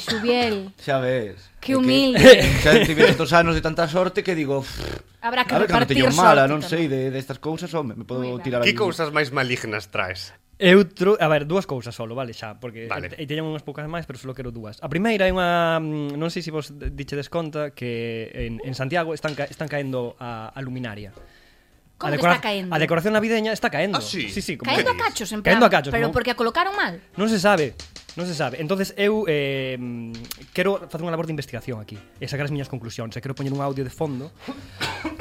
S4: tranquilamente.
S2: eres, Xubiel.
S4: Xa ves. É
S2: Que humilde.
S4: Xa tive tantos anos de tanta sorte que digo... "Pff,
S2: Habrá que
S4: a ver, cando
S2: repartir
S4: teño mala,
S2: sorte
S4: non
S2: tamén."
S4: sei, de, de estas cousas, home, me
S2: Moi
S4: podo
S2: ben.
S4: tirar aí.
S1: Que cousas máis malignas traes?
S3: Eu tro... A ver, dúas cousas solo, vale, xa, porque
S1: Vale.
S3: vale. e teñen unhas poucas máis, pero solo quero dúas. A primeira é unha, mm, non sei se vos dichedes conta que en, en Santiago están ca... están caendo a, a luminaria.
S2: Como
S3: a
S2: que está caendo?
S3: A decoración navideña está caendo.
S1: Ah, sí?
S3: Sí, sí, como
S2: Caendo
S1: que
S2: a
S1: dis?
S2: cachos, en plan,
S3: Caendo a cachos,
S2: pero
S3: non?
S2: porque a colocaron mal.
S3: Non se sabe, non se sabe. Entonces eu eh, mm, quero facer unha labor de investigación aquí e sacar as miñas conclusións. E quero poñer un audio de fondo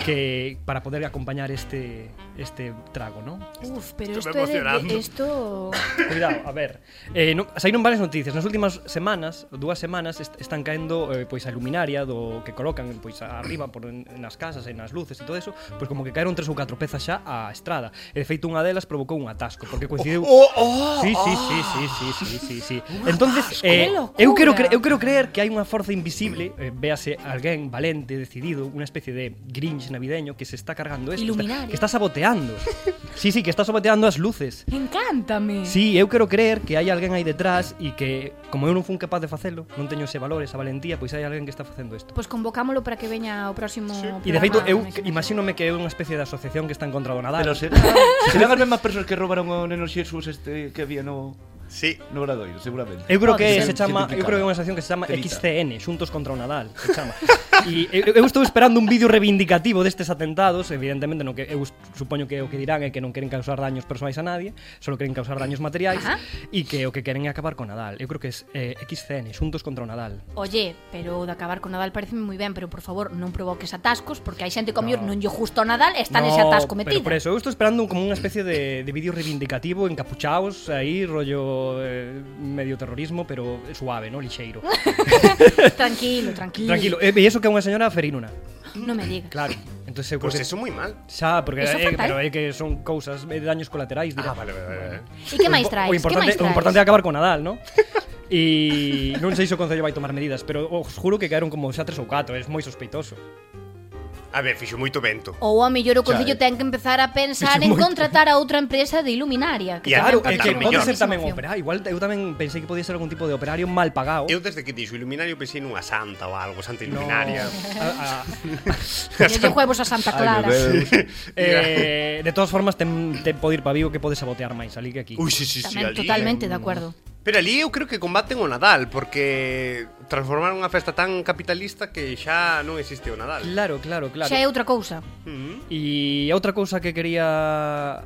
S3: que para poder acompañar este este trago, non?
S2: Uf,
S1: Estoy
S2: pero esto é de-
S1: emocionando.
S2: de esto
S3: Cuidado, a ver. Eh, no, saíron varias noticias. Nas últimas semanas, dúas semanas, est están caendo eh, pois a luminaria do que colocan pois arriba por en, nas casas, e nas luces e todo eso, pois como que caeron tres ou catro pezas xa á estrada. E de feito unha delas provocou un atasco, porque coincidiu
S1: Oh, oh,
S3: Sí, sí, sí, sí, sí, sí, sí, sí. Entonces, eh,
S2: locura.
S3: eu quero cre eu quero creer que hai unha forza invisible, eh, véase alguén valente, decidido, unha especie de Grinch navideño que se está cargando esto, que está,
S2: Iluminario.
S3: que está saboteando. Sí, sí, que está saboteando as luces.
S2: Encántame.
S3: Sí, eu quero creer que hai alguén aí detrás e que, como eu non fun capaz de facelo, non teño ese valor, esa valentía, pois hai alguén que está facendo isto.
S2: Pois convocámolo para que veña o próximo
S3: E de
S2: programa,
S3: feito, eu
S2: máis ou menos.
S3: imagínome que é unha especie de asociación que está en contra do Nadal.
S4: Pero será, serán as mesmas persoas que robaron o neno Xesús este que había no...
S1: Sí.
S4: No Obradoiro, seguramente.
S3: Eu creo que
S4: Pode
S3: se
S4: ser
S3: chama, eu
S4: simplificada.
S3: creo que é unha estación que se chama
S4: Trita.
S3: XCN, Xuntos contra o Nadal, se chama. E eu, eu estou esperando un vídeo reivindicativo destes atentados, evidentemente no que eu s- supoño que o que dirán é que non queren causar daños persoais a nadie, solo queren causar daños materiais
S2: Ajá.
S3: e que o que queren é acabar con Nadal. Eu creo que é eh, XCN, Xuntos contra o Nadal.
S2: Oye, pero o de acabar con Nadal pareceme moi ben, pero por favor, non provoques atascos, porque hai xente que ao mellor non lle justo o Nadal e está nese atasco metida.
S3: Pero por eso, eu estou esperando como unha especie de, de vídeo reivindicativo encapuchaos aí, rollo eh, medio terrorismo, pero suave, no lixeiro.
S2: tranquilo, tranquilo.
S3: Tranquilo, e e iso que é unha señora ferínuna.
S2: Non me digas.
S3: Claro. Entonces eu creo
S1: Pues
S3: que
S1: eso muy mal.
S3: Xa, porque
S2: Eso
S3: é,
S2: fatal.
S3: pero é que son cousas, é daños colaterais,
S1: Ah,
S3: dirá.
S1: vale, vale, vale.
S2: E que máis traes?
S3: O
S2: que
S3: importante,
S2: máis
S3: o
S2: traes?
S3: importante é acabar con Nadal, non? E non sei se o Concello vai tomar medidas, pero os juro que caeron como xa tres ou catro, é moi sospeitoso.
S1: A ver, fixo moito vento.
S2: Ou a mellor o Concello
S4: Xa, eh.
S2: ten que empezar a pensar en
S3: Moito.
S2: contratar a outra empresa de iluminaria. Que
S1: Ya,
S3: Claro,
S2: tamén
S3: é
S1: é
S2: pode ser
S3: que pode
S1: mellor.
S3: ser tamén
S2: unha opción.
S3: operario, igual eu tamén pensei que podía ser algún tipo de operario mal pagado.
S1: Eu desde que dixo iluminario pensei nunha santa ou algo, santa iluminaria.
S3: A, a,
S2: Lle huevos a Santa Clara.
S4: Deus.
S3: eh, de todas formas, ten, ten pode ir para Vigo que podes sabotear máis ali que aquí.
S1: Ui, sí, sí, sí,
S2: Tamén
S1: ali. eh.
S2: totalmente de acuerdo.
S1: Pero ali eu creo que combaten o Nadal, porque transformaron unha festa tan capitalista que xa non existe o Nadal.
S3: Claro, claro, claro.
S2: Xa é outra cousa.
S1: Mm.
S3: E outra cousa que quería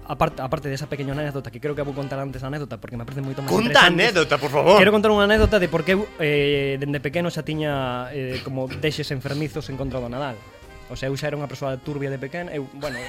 S3: aparte aparte desa pequena anécdota que creo que vou contar antes a anécdota porque me parece moito máis
S1: Conta a
S3: interesante.
S1: anécdota, por favor.
S3: Quero contar unha anécdota de por que eu, eh, dende pequeno xa tiña eh, como deixes enfermizos en contra do Nadal. O sea, eu xa era unha persoa turbia de pequeno, eu, bueno,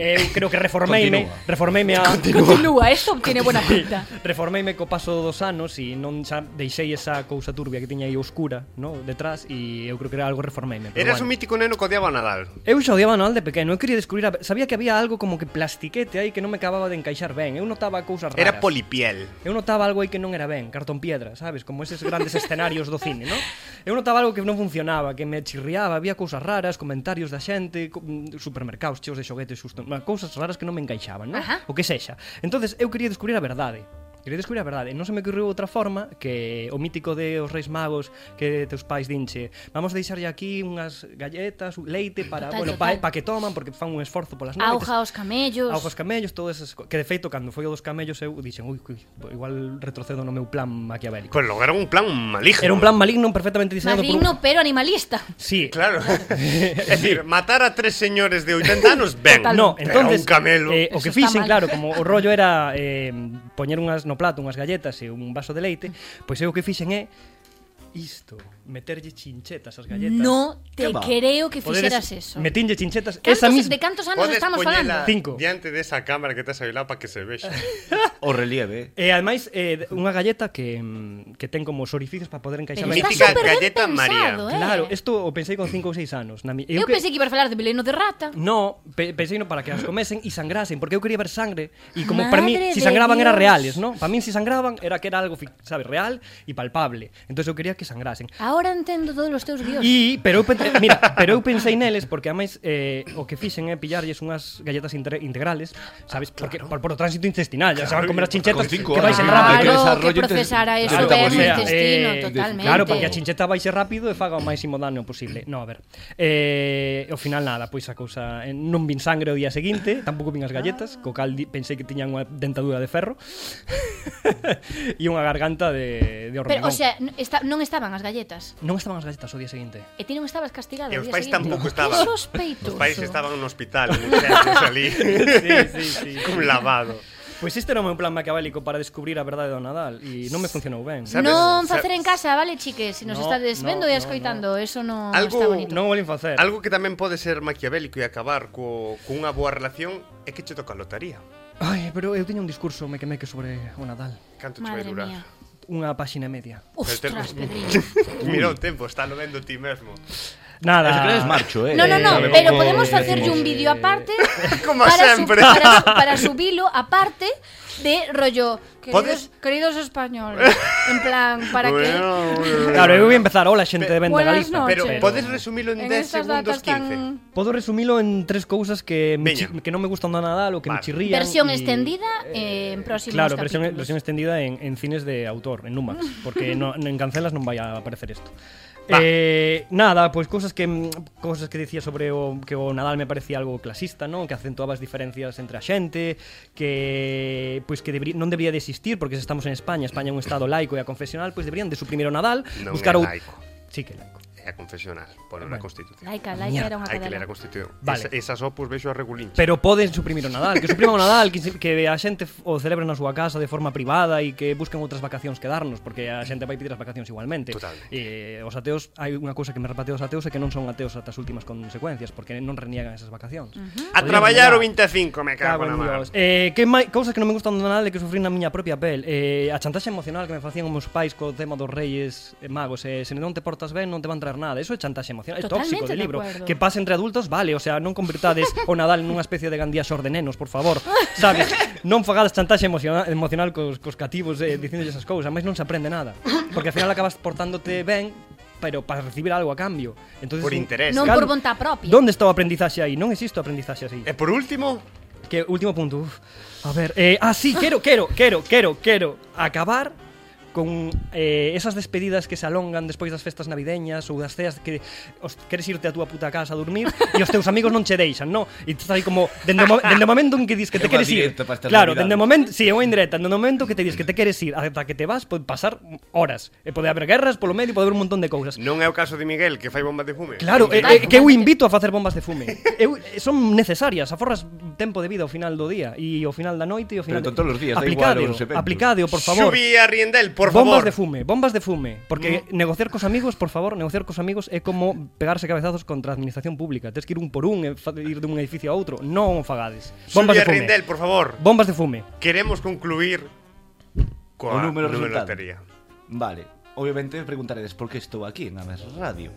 S3: eu creo que reformeime,
S4: Continúa.
S3: reformeime a
S2: Continúa, esto tiene buena pinta.
S3: reformeime co paso dos anos e non xa deixei esa cousa turbia que tiña aí oscura, no, detrás e eu creo que era algo reformeime, pero
S1: Eras un
S3: bueno.
S1: mítico neno que odiaba o Nadal.
S3: Eu xa odiaba o Nadal de pequeno, eu quería descubrir, a... sabía que había algo como que plastiquete aí que non me acababa de encaixar ben, eu notaba cousas raras.
S1: Era polipiel.
S3: Eu notaba algo aí que non era ben, cartón piedra, sabes? Como eses grandes escenarios do cine, non? Eu notaba algo que non funcionaba, que me chirriaba, había cousas raras, comentarios da xente, co- mm, supermercados cheos de xoguetes, susto, ma, cousas raras que non me encaixaban, non?
S2: Ajá.
S3: O que sexa. Entonces eu quería descubrir a verdade. Quería descubrir a verdade. Non se me ocurriu outra forma que o mítico de os reis magos que teus pais dinche vamos deixarlle aquí unhas galletas, un leite para,
S2: Total,
S3: bueno,
S2: total.
S3: pa, pa que toman porque fan un esforzo polas noites.
S2: Auja aos camellos.
S3: Aos camellos, todas esas co- que de feito cando foi o dos camellos eu dixen, ui, ui, igual retrocedo no meu plan maquiavélico.
S1: Pues lograron un plan maligno.
S3: Era un plan maligno perfectamente diseñado por
S2: Maligno, pero animalista.
S3: un... Sí.
S1: Claro. es decir, matar a tres señores de 80 años, ben.
S3: No,
S1: Pero
S3: entonces
S1: un camelo.
S3: eh, o
S2: Eso
S3: que
S2: está mal.
S3: fixen, claro, como o rollo era eh, poñer unhas no plato unhas galletas e un vaso de leite, pois eu o que fixen é isto, meterlle chinchetas ás galletas.
S2: No te
S4: Que va.
S2: creo que
S3: Poderes-
S2: fixeras eso.
S3: Metinlle chinchetas
S2: Cantos,
S3: esa misma.
S2: De cantos anos
S1: Podes
S2: estamos
S1: poñela
S2: falando?
S3: Cinco.
S1: diante de esa cámara que te has avilado para que se vexa.
S2: Ah,
S4: O relieve.
S3: E ademais eh, unha galleta que mm, que ten como os orificios para poder encaixar
S2: Pero
S3: ben.
S2: está
S1: Mítica
S2: superben
S1: galleta
S2: pensado, eh.
S3: Claro, isto o pensei con 5 ou 6 anos, na mi...
S2: Eu, pensei que ibas a falar de veleno de rata.
S3: No, pe pensei no para que as comesen e sangrasen, porque eu quería ver sangre e como para mí
S2: Madre de
S3: si sangraban era
S2: Dios.
S3: reales, ¿no? Para mí si sangraban era que era algo, fi- sabes, real e palpable. Entonces eu quería que sangrasen.
S2: Ahora entendo todos os teus guións.
S3: E pero eu pensei, mira, pero eu pensei neles porque ademais eh, o que fixen é pillarlles unhas galletas inter- integrales, sabes, porque por, por o tránsito intestinal, claro, xa van comer
S4: Con
S3: as chinchetas
S4: cinco
S3: que vai
S4: anos. Ah,
S3: ser rápido.
S4: Pero esa
S2: Claro, que
S4: rollo te-
S2: procesara
S4: te
S2: eso
S4: meta
S2: ben o
S4: bolsillo.
S2: intestino,
S3: eh,
S2: totalmente.
S3: Claro, para que a chincheta vaixe rápido e faga o máximo dano posible. No, a ver. Eh, ao final nada, pois a cousa eh, non vin sangre o día seguinte, tampouco vin as galletas, co cal di- pensei que tiñan unha dentadura de ferro e unha garganta de de
S2: Pero,
S3: hormigón.
S2: o sea, n- esta, non estaban as galletas.
S3: non estaban as galletas o día seguinte.
S2: E ti non estabas castigado.
S1: E
S2: o
S1: os
S2: día
S1: pais
S2: seguinte.
S1: tampouco
S2: Que
S1: estaban. Os
S2: sospeitoso.
S1: pais estaban en un hospital, en un centro ali.
S3: sí, sí, sí.
S1: Con lavado.
S3: Pois este era o meu plan maquiavélico para descubrir a verdade do Nadal e non me funcionou ben.
S1: Sabes-
S2: Non
S1: Sa-
S2: facer en casa, vale, chiques? Se nos
S3: No,
S2: estades
S3: no,
S2: vendo e
S3: no,
S2: escoitando, eso non
S1: Algo-
S2: está bonito.
S3: Non o volín facer.
S1: Algo que tamén pode ser maquiavélico e acabar co, cunha boa relación é que che toca a lotaría.
S3: Ai, pero eu tiña un discurso mequemeque sobre o Nadal.
S1: Canto che vai
S2: Madre
S1: durar?
S2: mía.
S3: Unha páxina e media.
S2: Ostras,
S1: Pero
S2: Pedriño.
S1: Mira o tempo, está lo vendo ti mesmo.
S3: Nada.
S4: Eso que eres marcho, eh.
S2: No, no, no,
S4: Tampoco-
S2: pero podemos hacerle un vídeo aparte
S1: Como
S2: para,
S1: siempre.
S2: para, su- para subirlo aparte de rollo queridos,
S1: ¿Podes?
S2: queridos españoles en plan para que
S1: Bueno, bueno.
S3: Claro, eu vou empezar. Hola, xente de Venda
S2: Buenas
S3: Galiza.
S2: noches.
S1: Pero
S2: Oche.
S1: podes resumilo en, 10
S2: en estas
S1: segundos
S2: datas
S1: 15.
S2: tan
S3: Podo resumilo en tres cousas que me
S1: Veña.
S3: chi- que non me gustan do Nadal o que
S1: Vale.
S3: me chirrían.
S2: versión
S3: y-
S2: extendida eh, en próximos
S3: Claro,
S2: capítulos.
S3: versión, versión extendida en, en cines de autor, en Numax, porque no, en cancelas non vai a aparecer isto.
S1: Va.
S3: Eh, nada, pois cousas que mm, cousas que dicía sobre o que o Nadal me parecía algo clasista, non? Que acentuaba as diferencias entre a xente, que pois que deberi, non debería de existir porque se estamos en España, España é un estado laico e a confesional, pois deberían de suprimir o Nadal,
S1: Non
S3: buscar
S1: é
S3: ou-
S1: laico.
S3: Sí que é laico.
S1: É a confesional, por na
S3: Bueno.
S1: Constitución.
S2: Laica, laica
S3: Mierda,
S2: era unha
S1: Hai que ler a
S2: cadela.
S1: Constitución.
S3: Vale.
S1: Esa- esas opus vexo a regulinche.
S3: Pero poden suprimir o Nadal, que supriman o Nadal, que, se- que a xente f- o celebre na súa casa de forma privada e que busquen outras vacacións que darnos, porque a xente vai pedir as vacacións igualmente.
S1: Totalmente.
S3: E eh, os ateos, hai unha cousa que me repateo os ateos é que non son ateos ata as últimas consecuencias, porque non reniegan esas vacacións. Uh
S1: A traballar o 25, me cago na mar.
S3: Dios. Eh, que mai, cousas que non me gustan do Nadal e que sufrí na miña propia pel eh, A chantaxe emocional que me facían os meus pais Co tema dos reis eh, magos eh, Se non te portas ben non te van traer nada Eso é chantaxe emocional, é tóxico
S2: Totalmente
S3: de
S2: de
S3: libro
S2: acuerdo.
S3: Que pase entre adultos, vale O sea, non convirtades o Nadal nunha especie de gandía xor de nenos, por favor Sabes? Non fagades chantaxe emocional, emocional cos, cos cativos eh, Dicindolle esas cousas Mas non se aprende nada Porque ao final acabas portándote ben pero para recibir algo a cambio. Entonces,
S1: Por interés.
S2: Non
S3: Claro.
S2: por vontá propia.
S3: Donde está o aprendizaxe aí? Non existe o aprendizaxe así.
S1: E por último,
S3: Que último punto. uf. A ver, eh, ah sí, quero, quero, quero, quero, quero acabar con eh, esas despedidas que se alongan despois das festas navideñas ou das ceas que os, queres irte a túa puta casa a dormir e os teus amigos non che deixan, no? E estás aí como dende o, mo- dende o momento en que dis
S4: É
S3: que te
S4: unha
S3: queres ir.
S4: directa pa estas
S3: Claro,
S4: Navidades.
S3: dende o momento, si, sí, é unha indirecta, dende o momento que te dis que te queres ir ata que te vas, pode pasar horas. E pode haber guerras polo medio, pode haber un montón de cousas.
S1: non é o caso de Miguel que fai bombas de fume.
S3: Claro,
S1: Miguel,
S3: eh, eh, que eu invito a facer bombas de fume. Eu, eh, son necesarias, aforras tempo de vida ao final do día e ao final da noite e ao final
S4: Pero con todos os días, da
S3: aplicadeo,
S4: igual os eventos.
S3: aplicadeo, eh, por favor.
S1: Subí a Riendel, por favor.
S3: bombas
S1: Mm.
S3: de fume, bombas de fume, porque negociar cos amigos, por favor, negociar cos amigos é como pegarse cabezazos contra a administración pública. Tes que ir un por un, e fa- ir dun edificio a outro, non o fagades. Bombas
S1: Subí a
S3: de fume.
S1: Riendel, por favor.
S3: Bombas de fume.
S1: Queremos concluir coa
S4: O número resultado.
S1: numerolotería.
S4: Vale, obviamente preguntaredes por que estou aquí na mes radio.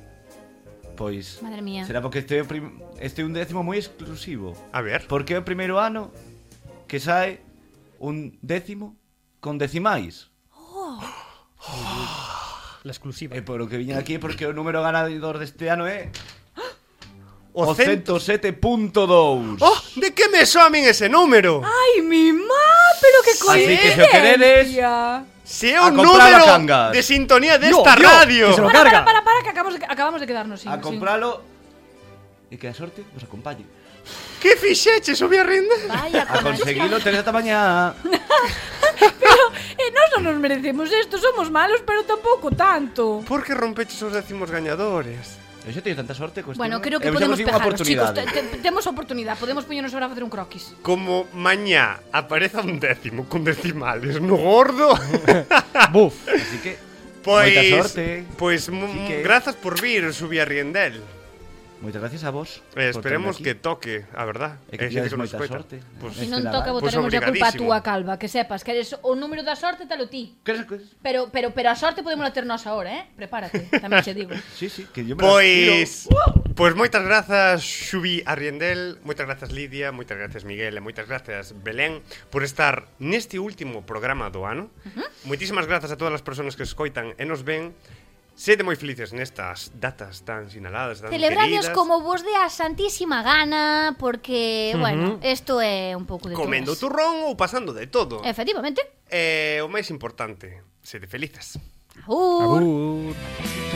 S4: Pois
S2: Madre mía.
S4: será porque este é o prim... este é un décimo moi exclusivo.
S1: A ver.
S4: Porque é o primeiro ano que sae un décimo con decimais.
S3: La exclusiva.
S4: E por o que viñen aquí é porque o número ganador deste ano é
S1: O
S4: o e
S1: cen...
S4: 107.2.
S1: Oh, de que me soamen ese número?
S3: Ah.
S2: Ai, mi má, pero que
S4: Así que se o queredes,
S1: Se é
S4: a
S1: un
S4: comprar a
S1: número
S4: cangas.
S1: de sintonía
S3: No,
S1: desta
S3: yo,
S1: radio.
S3: que se lo
S2: Para,
S3: carga.
S2: para, para, para, que acabamos de, acabamos de quedarnos sin.
S4: a
S2: sin-
S4: compralo e que a sorte vos acompañe.
S1: Que fixeche, subí a Riendel?
S2: Vaya,
S4: A conseguilo tedes ata mañá.
S5: E
S2: Eh,
S5: nós non nos merecemos isto, somos malos, pero tampouco tanto.
S1: Por que rompeches os décimos gañadores?
S4: Eu xa teño tanta sorte co este
S2: Bueno,
S4: número.
S2: creo
S4: Eu
S2: que
S4: xa
S2: podemos
S4: consigo unha
S2: pegarnos, chicos.
S4: oportunidade.
S2: Te, te, temos oportunidade, podemos poñernos ahora a facer un croquis.
S1: Como mañá apareza un décimo con decimales no gordo,
S3: Buf.
S4: Así que
S1: pois...
S4: moita sorte.
S1: Pois, mm, mu-
S4: Así que-
S1: grazas por vir, subí a Riendel.
S4: Moitas gracias a vos.
S1: Eh,
S4: por
S1: esperemos
S4: terme
S1: que
S4: aquí.
S1: toque, a verdad.
S4: E que
S1: Hai xente
S4: tivades
S1: nos
S4: moita
S1: escoita.
S4: sorte.
S1: Pois,
S4: Este
S2: Se non
S4: Nadal.
S2: toca,
S1: Pois
S2: botaremos a culpa a
S1: obrigadísimo.
S2: túa calva, que sepas que eres o número da sorte talo ti.
S4: Crees que
S2: Pero, pero, pero a sorte podemos ter nós ahora, eh? Prepárate, tamén che digo.
S4: Sí, sí, que yo me las
S1: Pois
S4: Uh!
S1: Pois moitas grazas Xubi Arriendel Moitas grazas Lidia Moitas grazas Miguel E moitas grazas Belén Por estar neste último programa do ano uh -huh. Moitísimas grazas a todas as persoas que escoitan e nos ven Sede moi felices nestas datas tan sinaladas tan
S2: Celebrades
S1: queridas.
S2: como vos de a santísima gana, porque, bueno, isto é Eh, un pouco de
S1: Comendo
S2: todas.
S1: turrón ou pasando de todo Eh,
S2: Efectivamente.
S1: E o máis importante Sede felices
S2: Aur.
S3: Abur.
S4: tiro.